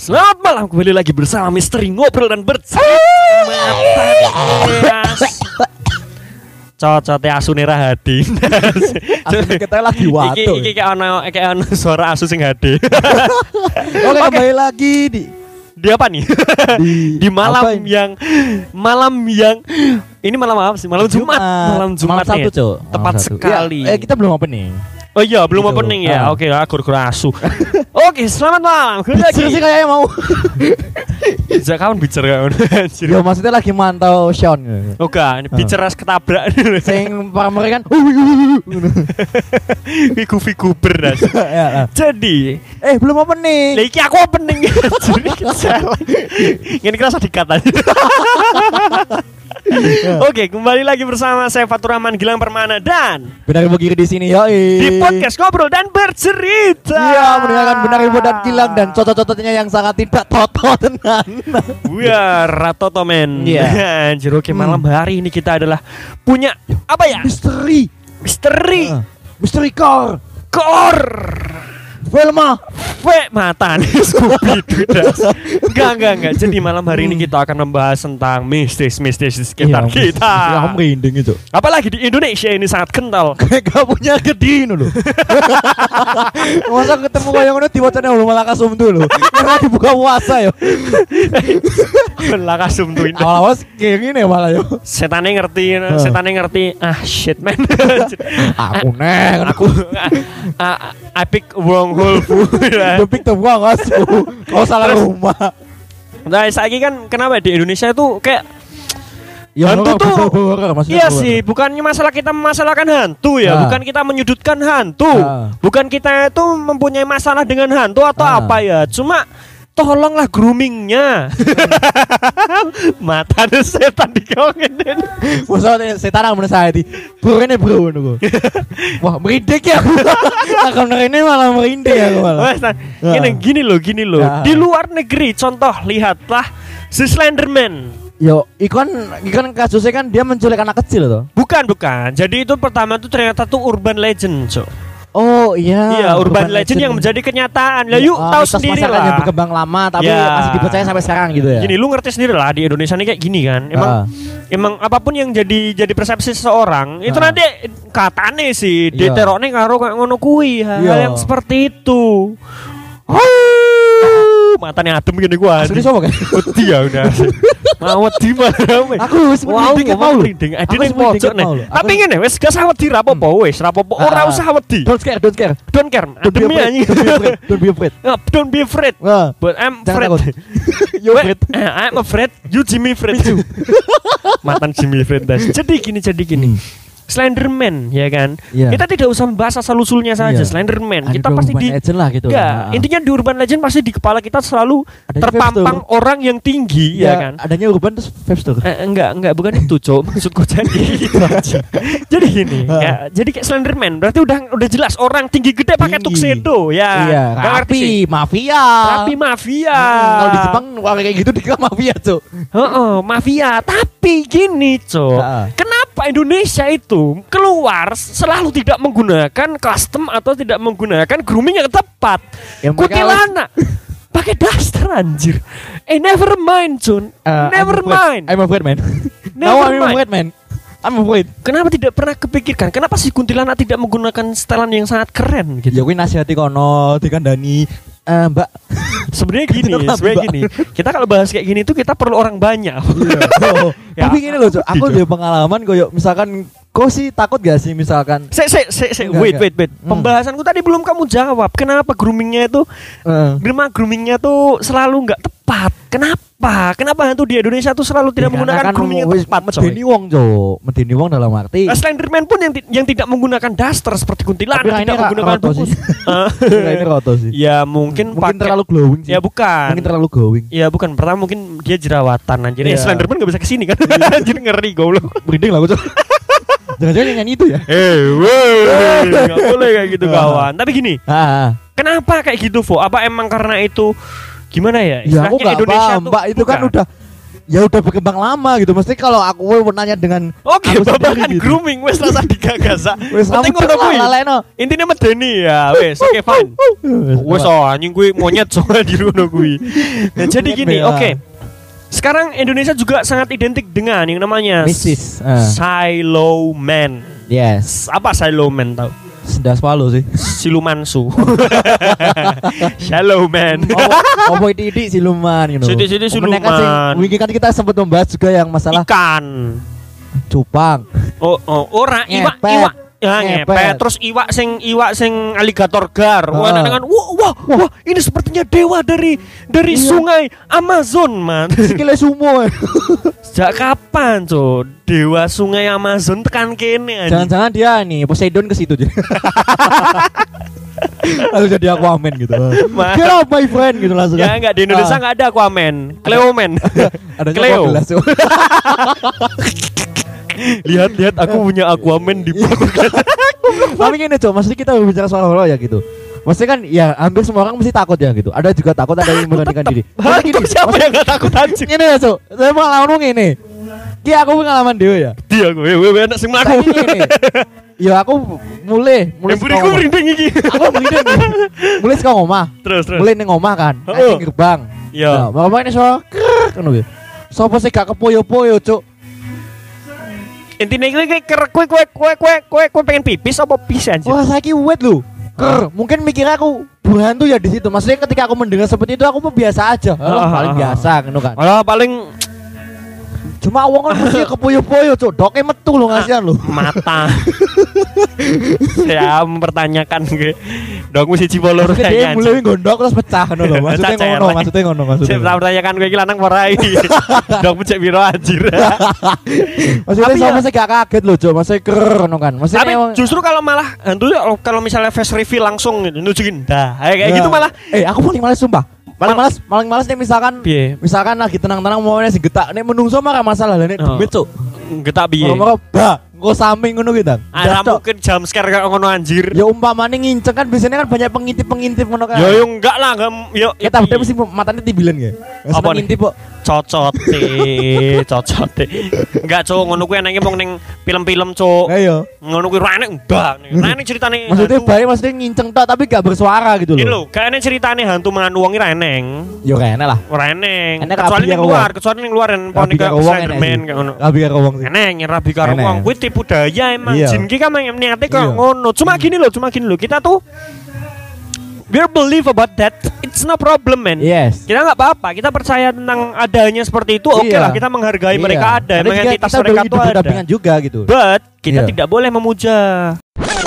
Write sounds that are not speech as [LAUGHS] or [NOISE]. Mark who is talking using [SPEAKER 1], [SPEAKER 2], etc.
[SPEAKER 1] Selamat malam kembali lagi bersama Misteri Ngobrol dan Bercanda Cocote asune ra hadi. [LAUGHS]
[SPEAKER 2] Asune kita lagi
[SPEAKER 1] Iki
[SPEAKER 2] watu. ya.
[SPEAKER 1] iki kayak ono kayak ono suara asu sing hadi.
[SPEAKER 2] Oke, kembali lagi di
[SPEAKER 1] Dia apa nih?
[SPEAKER 2] di,
[SPEAKER 1] Di malam
[SPEAKER 2] apa ini?
[SPEAKER 1] yang malam yang ini malam apa sih? Malam Jumat. Malam Jumat
[SPEAKER 2] Sabtu,
[SPEAKER 1] ya.
[SPEAKER 2] Cuk.
[SPEAKER 1] Tepat
[SPEAKER 2] Sabtu.
[SPEAKER 1] sekali.
[SPEAKER 2] Iya, eh, kita belum opening.
[SPEAKER 1] Oh iya, belum
[SPEAKER 2] Gitu.
[SPEAKER 1] opening ya.
[SPEAKER 2] Ah.
[SPEAKER 1] Oke, aku kurang asu. Oke, selamat malam. Kembali lagi.
[SPEAKER 2] Bicer sih kayaknya
[SPEAKER 1] [LAUGHS]
[SPEAKER 2] mau.
[SPEAKER 1] Sejak kapan bicara
[SPEAKER 2] Ya maksudnya lagi mantau Sean.
[SPEAKER 1] Oke, ini bicara ketabrak.
[SPEAKER 2] Sing pamer kan.
[SPEAKER 1] Figu figu beras.
[SPEAKER 2] [LAUGHS] Ya, lah.
[SPEAKER 1] Jadi,
[SPEAKER 2] eh, belum
[SPEAKER 1] lah
[SPEAKER 2] opening.
[SPEAKER 1] iki aku
[SPEAKER 2] [LAUGHS]
[SPEAKER 1] opening. [LAUGHS] Jadi salah. Ini kerasa dikat aja. [LAUGHS] Oke, kembali lagi bersama saya Faturaman Gilang Permana dan
[SPEAKER 2] Benar ibu kiri di sini, yoi.
[SPEAKER 1] di podcast ngobrol dan bercerita.
[SPEAKER 2] Iya, mendengarkan benar ibu dan kilang
[SPEAKER 1] Ah.
[SPEAKER 2] dan cocot-cocotnya yang sangat tidak toto [LAUGHS] tenan.
[SPEAKER 1] Buya Rato Tomen.
[SPEAKER 2] Iya.
[SPEAKER 1] [LAUGHS] Anjir, oke malam hari ini kita adalah punya apa ya?
[SPEAKER 2] Misteri.
[SPEAKER 1] Misteri
[SPEAKER 2] Ah, Misteri core.
[SPEAKER 1] kor.
[SPEAKER 2] Velma.
[SPEAKER 1] Fe
[SPEAKER 2] [LAUGHS]
[SPEAKER 1] mata nih Scooby Doo das. Enggak enggak enggak. Jadi malam hari ini kita akan membahas tentang mistis-mistis di sekitar
[SPEAKER 2] Iya,
[SPEAKER 1] kita.
[SPEAKER 2] Ya, aku merinding itu.
[SPEAKER 1] Apalagi di Indonesia ini sangat
[SPEAKER 2] [LAUGHS]
[SPEAKER 1] kental.
[SPEAKER 2] kayak gak punya gede ini loh [LAUGHS] masa ketemu kayak ngono diwacana lu malah kasum dulu karena dibuka puasa yo
[SPEAKER 1] Lah kasum tuh ini.
[SPEAKER 2] awal-awal kayak gini ya malah yo
[SPEAKER 1] Setannya ngerti, setannya ngerti. Ah shit man.
[SPEAKER 2] [LAUGHS] aku neng
[SPEAKER 1] Aku ah, ah, I pick wrong hole.
[SPEAKER 2] [LAUGHS]
[SPEAKER 1] bu. Ya.
[SPEAKER 2] Depik tuh gua ngasu Kau salah
[SPEAKER 1] Terus-
[SPEAKER 2] rumah
[SPEAKER 1] Nah, saiki kan kenapa di Indonesia itu kayak
[SPEAKER 2] Ya
[SPEAKER 1] hantu
[SPEAKER 2] orang
[SPEAKER 1] tuh-
[SPEAKER 2] berubah-ubah, maksudnya
[SPEAKER 1] Iya
[SPEAKER 2] berubah.
[SPEAKER 1] sih, bukannya masalah kita memasalahkan hantu ya,
[SPEAKER 2] Ah.
[SPEAKER 1] bukan kita menyudutkan hantu,
[SPEAKER 2] Ah.
[SPEAKER 1] bukan kita itu mempunyai masalah dengan hantu atau
[SPEAKER 2] Ah.
[SPEAKER 1] apa ya, cuma tolonglah
[SPEAKER 2] [LAUGHS]
[SPEAKER 1] groomingnya. Mata ada setan di kawangan
[SPEAKER 2] Maksudnya setan yang menurut saya di Bro ini bro ini, gua.
[SPEAKER 1] [LAUGHS]
[SPEAKER 2] Wah merinding ya aku Aku ini malah merinding ya aku malah
[SPEAKER 1] Wes, nah, gini,
[SPEAKER 2] Ah.
[SPEAKER 1] gini loh, gini loh.
[SPEAKER 2] Ah.
[SPEAKER 1] Di luar negeri, contoh lihatlah si Slenderman.
[SPEAKER 2] Yo, ikon ikon kasusnya kan dia menculik anak kecil tuh.
[SPEAKER 1] Bukan, bukan. Jadi itu pertama tuh ternyata tuh urban legend, Cok.
[SPEAKER 2] Oh iya.
[SPEAKER 1] iya, urban, legend, yang menjadi kenyataan. Lah yuk
[SPEAKER 2] Oh,
[SPEAKER 1] tahu
[SPEAKER 2] mitos
[SPEAKER 1] sendiri
[SPEAKER 2] masyarakat yang
[SPEAKER 1] lah.
[SPEAKER 2] berkembang lama tapi
[SPEAKER 1] Ya.
[SPEAKER 2] masih dipercaya sampai sekarang gitu ya.
[SPEAKER 1] Gini, lu ngerti sendiri lah di Indonesia ini kayak gini kan. Emang
[SPEAKER 2] Ah.
[SPEAKER 1] emang apapun yang jadi jadi persepsi seseorang itu
[SPEAKER 2] Ah.
[SPEAKER 1] nanti katane sih
[SPEAKER 2] Iya.
[SPEAKER 1] diterokne karo kayak ngono kuwi hal,
[SPEAKER 2] Iya.
[SPEAKER 1] yang seperti itu. Wuh, matanya adem gini gua.
[SPEAKER 2] Asli sopo
[SPEAKER 1] [LAUGHS]
[SPEAKER 2] kan?
[SPEAKER 1] Wedi ya
[SPEAKER 2] [LAUGHS]
[SPEAKER 1] udah. Mau wedi malah.
[SPEAKER 2] Aku wis
[SPEAKER 1] Wow,
[SPEAKER 2] merinding mau lho.
[SPEAKER 1] merinding. Adi
[SPEAKER 2] Aku
[SPEAKER 1] ning
[SPEAKER 2] wis merinding
[SPEAKER 1] pojok
[SPEAKER 2] ket
[SPEAKER 1] nih.
[SPEAKER 2] mau lho. Aku-
[SPEAKER 1] Tapi ngene wis gak usah wedi ra apa-apa wis, ra apa-apa
[SPEAKER 2] Ah,
[SPEAKER 1] ora
[SPEAKER 2] ah.
[SPEAKER 1] usah wedi.
[SPEAKER 2] Don't scare, don't scare.
[SPEAKER 1] Don't care.
[SPEAKER 2] Don't be
[SPEAKER 1] Adem
[SPEAKER 2] afraid.
[SPEAKER 1] anjing.
[SPEAKER 2] Don't be afraid. Don't be
[SPEAKER 1] [LAUGHS]
[SPEAKER 2] afraid.
[SPEAKER 1] Uh, Don't be afraid.
[SPEAKER 2] Wah,
[SPEAKER 1] But I'm
[SPEAKER 2] Jangan
[SPEAKER 1] afraid.
[SPEAKER 2] takut. Yo,
[SPEAKER 1] Wait,
[SPEAKER 2] Fred.
[SPEAKER 1] eh, I'm afraid you Jimmy Fred [LAUGHS] Mantan Jimmy Fred das. Jadi gini jadi
[SPEAKER 2] Hmm.
[SPEAKER 1] gini. Slenderman ya kan.
[SPEAKER 2] Iya.
[SPEAKER 1] Kita tidak usah membahas asal usulnya saja
[SPEAKER 2] Iya.
[SPEAKER 1] Slenderman.
[SPEAKER 2] Ada
[SPEAKER 1] Kita pasti
[SPEAKER 2] urban
[SPEAKER 1] di Iya,
[SPEAKER 2] legend lah gitu.
[SPEAKER 1] Enggak,
[SPEAKER 2] Ah, ah.
[SPEAKER 1] intinya di urban legend pasti di kepala kita selalu
[SPEAKER 2] Adanya
[SPEAKER 1] terpampang
[SPEAKER 2] vape
[SPEAKER 1] orang yang tinggi ya, kan.
[SPEAKER 2] Iya, Adanya urban terus vape store.
[SPEAKER 1] Eh, [LAUGHS] enggak, enggak bukan itu, Cok. Maksudku [LAUGHS] jadi gitu aja. Jadi gini,
[SPEAKER 2] Ah.
[SPEAKER 1] ya, jadi kayak Slenderman berarti udah udah jelas orang tinggi gede pakai
[SPEAKER 2] Tinggi.
[SPEAKER 1] tuxedo ya.
[SPEAKER 2] Iya,
[SPEAKER 1] Nggak ngerti sih.
[SPEAKER 2] rapi, mafia.
[SPEAKER 1] Tapi mafia.
[SPEAKER 2] Hmm, Kalau di Jepang orang kayak gitu dikira [LAUGHS] mafia, Cuk.
[SPEAKER 1] Heeh, mafia. Tapi gini, Cok.
[SPEAKER 2] Heeh.
[SPEAKER 1] Kenapa Indonesia itu keluar selalu tidak menggunakan custom atau tidak menggunakan grooming yang tepat?
[SPEAKER 2] Ya, mereka
[SPEAKER 1] Kuntilanak [LAUGHS] pakai daster anjir. Eh never mind, Jun.
[SPEAKER 2] Eh,
[SPEAKER 1] never
[SPEAKER 2] I'm afraid.
[SPEAKER 1] mind.
[SPEAKER 2] I'm afraid, man.
[SPEAKER 1] Never
[SPEAKER 2] [LAUGHS] No, I'm
[SPEAKER 1] mind.
[SPEAKER 2] afraid, man. I'm afraid.
[SPEAKER 1] Kenapa tidak pernah kepikirkan? Kenapa si kuntilanak tidak menggunakan setelan yang sangat keren gitu?
[SPEAKER 2] Ya kuwi nasihati kono dikandani eh [LAUGHS] Mbak
[SPEAKER 1] Sebenarnya gini,
[SPEAKER 2] Kenapa,
[SPEAKER 1] sebenarnya
[SPEAKER 2] Mbak?
[SPEAKER 1] gini. Kita kalau bahas kayak gini tuh kita perlu orang banyak.
[SPEAKER 2] [LAUGHS]
[SPEAKER 1] Ya,
[SPEAKER 2] Iya. Tapi gini loh, Cuk,
[SPEAKER 1] aku
[SPEAKER 2] aku punya pengalaman koyo misalkan kau sih takut gak sih misalkan
[SPEAKER 1] Sek, sek, sek, sek.
[SPEAKER 2] Enggak,
[SPEAKER 1] Wait, wait,
[SPEAKER 2] enggak.
[SPEAKER 1] wait.
[SPEAKER 2] Hmm.
[SPEAKER 1] Pembahasanku tadi belum kamu jawab. Kenapa groomingnya itu
[SPEAKER 2] eh,
[SPEAKER 1] Derma groomingnya tuh selalu nggak tepat. Kenapa? Kenapa hantu di Indonesia tuh selalu
[SPEAKER 2] ya
[SPEAKER 1] tidak menggunakan
[SPEAKER 2] karena kan
[SPEAKER 1] grooming yang
[SPEAKER 2] wis
[SPEAKER 1] tepat? coy?
[SPEAKER 2] Medeni wong, Cuk. Medeni wong dalam arti
[SPEAKER 1] Nah, Slenderman pun yang, ti- yang tidak menggunakan daster seperti kuntilanak
[SPEAKER 2] Tapi Raine
[SPEAKER 1] tidak
[SPEAKER 2] ra-
[SPEAKER 1] menggunakan
[SPEAKER 2] roto [LAUGHS]
[SPEAKER 1] buku. [LAUGHS]
[SPEAKER 2] sih.
[SPEAKER 1] Ah.
[SPEAKER 2] ini roto sih.
[SPEAKER 1] ya mungkin,
[SPEAKER 2] Mungkin
[SPEAKER 1] pakai-
[SPEAKER 2] terlalu glowing sih.
[SPEAKER 1] Ya bukan.
[SPEAKER 2] Mungkin terlalu glowing.
[SPEAKER 1] Ya bukan. Pertama mungkin dia jerawatan anjir. Ya
[SPEAKER 2] Iya.
[SPEAKER 1] Slenderman nggak bisa kesini kan. [LAUGHS] anjir ngeri goblok.
[SPEAKER 2] [LAUGHS] Merinding lah aku, Cuk.
[SPEAKER 1] [LAUGHS]
[SPEAKER 2] Jangan-jangan yang nyanyi itu ya?
[SPEAKER 1] Eh, woi, [LAUGHS] nggak boleh kayak gitu
[SPEAKER 2] Ah.
[SPEAKER 1] kawan. Tapi gini,
[SPEAKER 2] Ah, ah.
[SPEAKER 1] kenapa kayak gitu, Fo? Apa emang karena itu gimana ya?
[SPEAKER 2] ya aku
[SPEAKER 1] Istilahnya
[SPEAKER 2] nggak paham,
[SPEAKER 1] tuh-
[SPEAKER 2] Mbak itu kan
[SPEAKER 1] bukan.
[SPEAKER 2] udah ya udah berkembang lama gitu. Mesti kalau aku mau nanya dengan
[SPEAKER 1] Oke,
[SPEAKER 2] Aku
[SPEAKER 1] babakan
[SPEAKER 2] sendiri gitu.
[SPEAKER 1] grooming wes rasa digagas. ah.
[SPEAKER 2] [LAUGHS] wes
[SPEAKER 1] Penting ngono kuwi. Intine medeni ya, wes oke fine. Wes oh, anjing kuwi monyet soalnya di rono
[SPEAKER 2] [LAUGHS]
[SPEAKER 1] kuwi. Nah, jadi
[SPEAKER 2] Monyet
[SPEAKER 1] gini,
[SPEAKER 2] bea.
[SPEAKER 1] oke. Sekarang Indonesia juga sangat identik dengan yang namanya
[SPEAKER 2] Missis. ah.
[SPEAKER 1] Silo Man.
[SPEAKER 2] Yes.
[SPEAKER 1] S- Apa Silo Man tau?
[SPEAKER 2] Sedas palu Iya, sih.
[SPEAKER 1] Silumansu.
[SPEAKER 2] [LAUGHS]
[SPEAKER 1] [LAUGHS] Silo Man.
[SPEAKER 2] Oh, Opo itu siluman gitu.
[SPEAKER 1] Sidik-sidik
[SPEAKER 2] Kemudian kan sing-
[SPEAKER 1] siluman.
[SPEAKER 2] Wingi kan kita sempat membahas juga yang masalah
[SPEAKER 1] Ikan.
[SPEAKER 2] cupang.
[SPEAKER 1] Oh, oh, ora iwak,
[SPEAKER 2] Ngepet.
[SPEAKER 1] iwak. Ya,
[SPEAKER 2] Ngepet.
[SPEAKER 1] ngepet. Terus iwak sing iwak sing aligator gar. Wah,
[SPEAKER 2] Ah.
[SPEAKER 1] dengan wah, wah, wah, ini sepertinya dewa dari dari
[SPEAKER 2] Iya.
[SPEAKER 1] sungai Amazon,
[SPEAKER 2] [LAUGHS]
[SPEAKER 1] man. [LAUGHS]
[SPEAKER 2] Sikile sumo. eh.
[SPEAKER 1] Sejak kapan, Cuk? Dewa sungai Amazon tekan kene anjing.
[SPEAKER 2] Jangan-jangan dia nih Poseidon ke
[SPEAKER 1] [LAUGHS]
[SPEAKER 2] situ. jadi. Lalu jadi Aquaman gitu.
[SPEAKER 1] Ma-
[SPEAKER 2] Get off my friend gitu langsung.
[SPEAKER 1] Ya
[SPEAKER 2] kan.
[SPEAKER 1] enggak di Indonesia
[SPEAKER 2] Ah.
[SPEAKER 1] enggak ada Aquaman,
[SPEAKER 2] [LAUGHS]
[SPEAKER 1] Cleoman.
[SPEAKER 2] Adanya
[SPEAKER 1] Cleo.
[SPEAKER 2] 12.
[SPEAKER 1] Lihat-lihat aku
[SPEAKER 2] Eh.
[SPEAKER 1] punya Aquaman di
[SPEAKER 2] Iya. [LAUGHS] Tapi gini coba, maksudnya kita berbicara soal horor ya gitu. Maksudnya kan ya hampir semua orang mesti takut ya gitu. Ada juga takut, ada
[SPEAKER 1] [LAUGHS]
[SPEAKER 2] yang memberanikan diri.
[SPEAKER 1] Hah,
[SPEAKER 2] Maksudnya
[SPEAKER 1] kok siapa yang enggak takut
[SPEAKER 2] [LAUGHS]
[SPEAKER 1] anjing?
[SPEAKER 2] Ini ya cok, saya pengalaman ini. Ki aku pengalaman dewe ya.
[SPEAKER 1] Dia gue, gue gue enak sing mlaku.
[SPEAKER 2] Saiki
[SPEAKER 1] [LAUGHS]
[SPEAKER 2] ngene. Ya aku mulai mulai
[SPEAKER 1] Emburiku
[SPEAKER 2] omah.
[SPEAKER 1] merinding iki.
[SPEAKER 2] Aku merinding. Mulai saka omah.
[SPEAKER 1] Terus terus.
[SPEAKER 2] Mulai ning omah kan,
[SPEAKER 1] Heeh.
[SPEAKER 2] nang gerbang. Nah,
[SPEAKER 1] Ya.
[SPEAKER 2] omah ini suara krek ngono kuwi. Sopo sih gak kepoyo-poyo cok?
[SPEAKER 1] Intine kowe kowe kowe kowe kowe kowe kowe kowe pengen pipis apa pis anjir?
[SPEAKER 2] Wah, saiki wet lho. Ker, mungkin mikirnya aku buhan tuh ya di situ. Maksudnya ketika aku mendengar seperti itu aku mah biasa aja.
[SPEAKER 1] Ah,
[SPEAKER 2] Alah, paling
[SPEAKER 1] ah,
[SPEAKER 2] biasa ngono kan.
[SPEAKER 1] Alah paling
[SPEAKER 2] Cuma wong kan mesti kepoyo-poyo cok, doke metu lho ngasihan lho.
[SPEAKER 1] mata. [LAUGHS] Saya mempertanyakan gue. Dongmu siji bolor
[SPEAKER 2] Gede
[SPEAKER 1] kayaknya.
[SPEAKER 2] mulai gondok terus pecah ngono lho. Maksudnya
[SPEAKER 1] Cacer,
[SPEAKER 2] ngono,
[SPEAKER 1] like.
[SPEAKER 2] maksudnya ngono, maksudnya.
[SPEAKER 1] Saya
[SPEAKER 2] ngono.
[SPEAKER 1] mempertanyakan gue iki lanang
[SPEAKER 2] [LAUGHS]
[SPEAKER 1] warai. Dongmu cek biro anjir.
[SPEAKER 2] Maksudnya
[SPEAKER 1] Tapi
[SPEAKER 2] sama
[SPEAKER 1] ya-
[SPEAKER 2] sih gak kaget loh, Cok. Maksudnya ker no kan. Maksudnya
[SPEAKER 1] Tapi
[SPEAKER 2] emang-
[SPEAKER 1] justru kalau malah hantu ya, kalau misalnya face reveal langsung gitu, nunjukin dah kayak kayak
[SPEAKER 2] Ya.
[SPEAKER 1] gitu malah
[SPEAKER 2] Eh, aku paling males sumpah. Paling
[SPEAKER 1] Mal-
[SPEAKER 2] males, paling males nih misalkan
[SPEAKER 1] piye
[SPEAKER 2] misalkan lagi tenang-tenang mau nih getak nih menungso mah gak masalah lah nih
[SPEAKER 1] Oh. iya.
[SPEAKER 2] demit Cok.
[SPEAKER 1] getak piye.
[SPEAKER 2] Moro-moro bah, engko samping ngono gitu.
[SPEAKER 1] Ada
[SPEAKER 2] Cok.
[SPEAKER 1] mungkin jump scare kayak ngono anjir.
[SPEAKER 2] Ya umpamane nginceng kan biasanya kan banyak pengintip-pengintip ngono kan.
[SPEAKER 1] Ya yo enggak lah, enggak yo yo,
[SPEAKER 2] Kita udah
[SPEAKER 1] piye.
[SPEAKER 2] mesti matanya tibilan ya.
[SPEAKER 1] Apa nih?
[SPEAKER 2] ngintip kok.
[SPEAKER 1] cocote, cocote. Enggak, Cuk, ngono kuwi enake mung ning film-film, Cuk.
[SPEAKER 2] Ayo.
[SPEAKER 1] Ngono kuwi ra enek mbak. Ra enek ceritane.
[SPEAKER 2] iya. Hmm. Maksudnya
[SPEAKER 1] hantu.
[SPEAKER 2] baik maksudnya nginceng tok tapi gak bersuara gitu
[SPEAKER 1] Gini Iya,
[SPEAKER 2] loh.
[SPEAKER 1] lho, kayaknya ceritane hantu mangan wong ra eneng.
[SPEAKER 2] Yo kayaknya lah.
[SPEAKER 1] Ora eneng.
[SPEAKER 2] Enek
[SPEAKER 1] Kecuali
[SPEAKER 2] rabi
[SPEAKER 1] ning
[SPEAKER 2] karo
[SPEAKER 1] luar, kecuali ning luar yang poni
[SPEAKER 2] Rabi
[SPEAKER 1] kayak
[SPEAKER 2] karo wong enek
[SPEAKER 1] Slenderman
[SPEAKER 2] sih.
[SPEAKER 1] kayak ngono.
[SPEAKER 2] Tapi gak ngomong sih.
[SPEAKER 1] Eneng ya rabi karo
[SPEAKER 2] Enek.
[SPEAKER 1] wong kuwi tipu daya emang
[SPEAKER 2] Iya.
[SPEAKER 1] jin ki kan emang niate kayak
[SPEAKER 2] Iya.
[SPEAKER 1] ngono. Cuma gini loh, cuma gini loh. Kita tuh we're believe about that. It's no problem, man.
[SPEAKER 2] Yes.
[SPEAKER 1] Kita nggak apa-apa, kita percaya tentang adanya seperti itu. Oke
[SPEAKER 2] Iya.
[SPEAKER 1] lah, kita menghargai
[SPEAKER 2] Iya.
[SPEAKER 1] mereka ada,
[SPEAKER 2] Ada juga
[SPEAKER 1] mengentitas
[SPEAKER 2] kita
[SPEAKER 1] mereka
[SPEAKER 2] beri
[SPEAKER 1] tuh ada.
[SPEAKER 2] berdampingan juga gitu.
[SPEAKER 1] But kita
[SPEAKER 2] Iya.
[SPEAKER 1] tidak boleh memuja.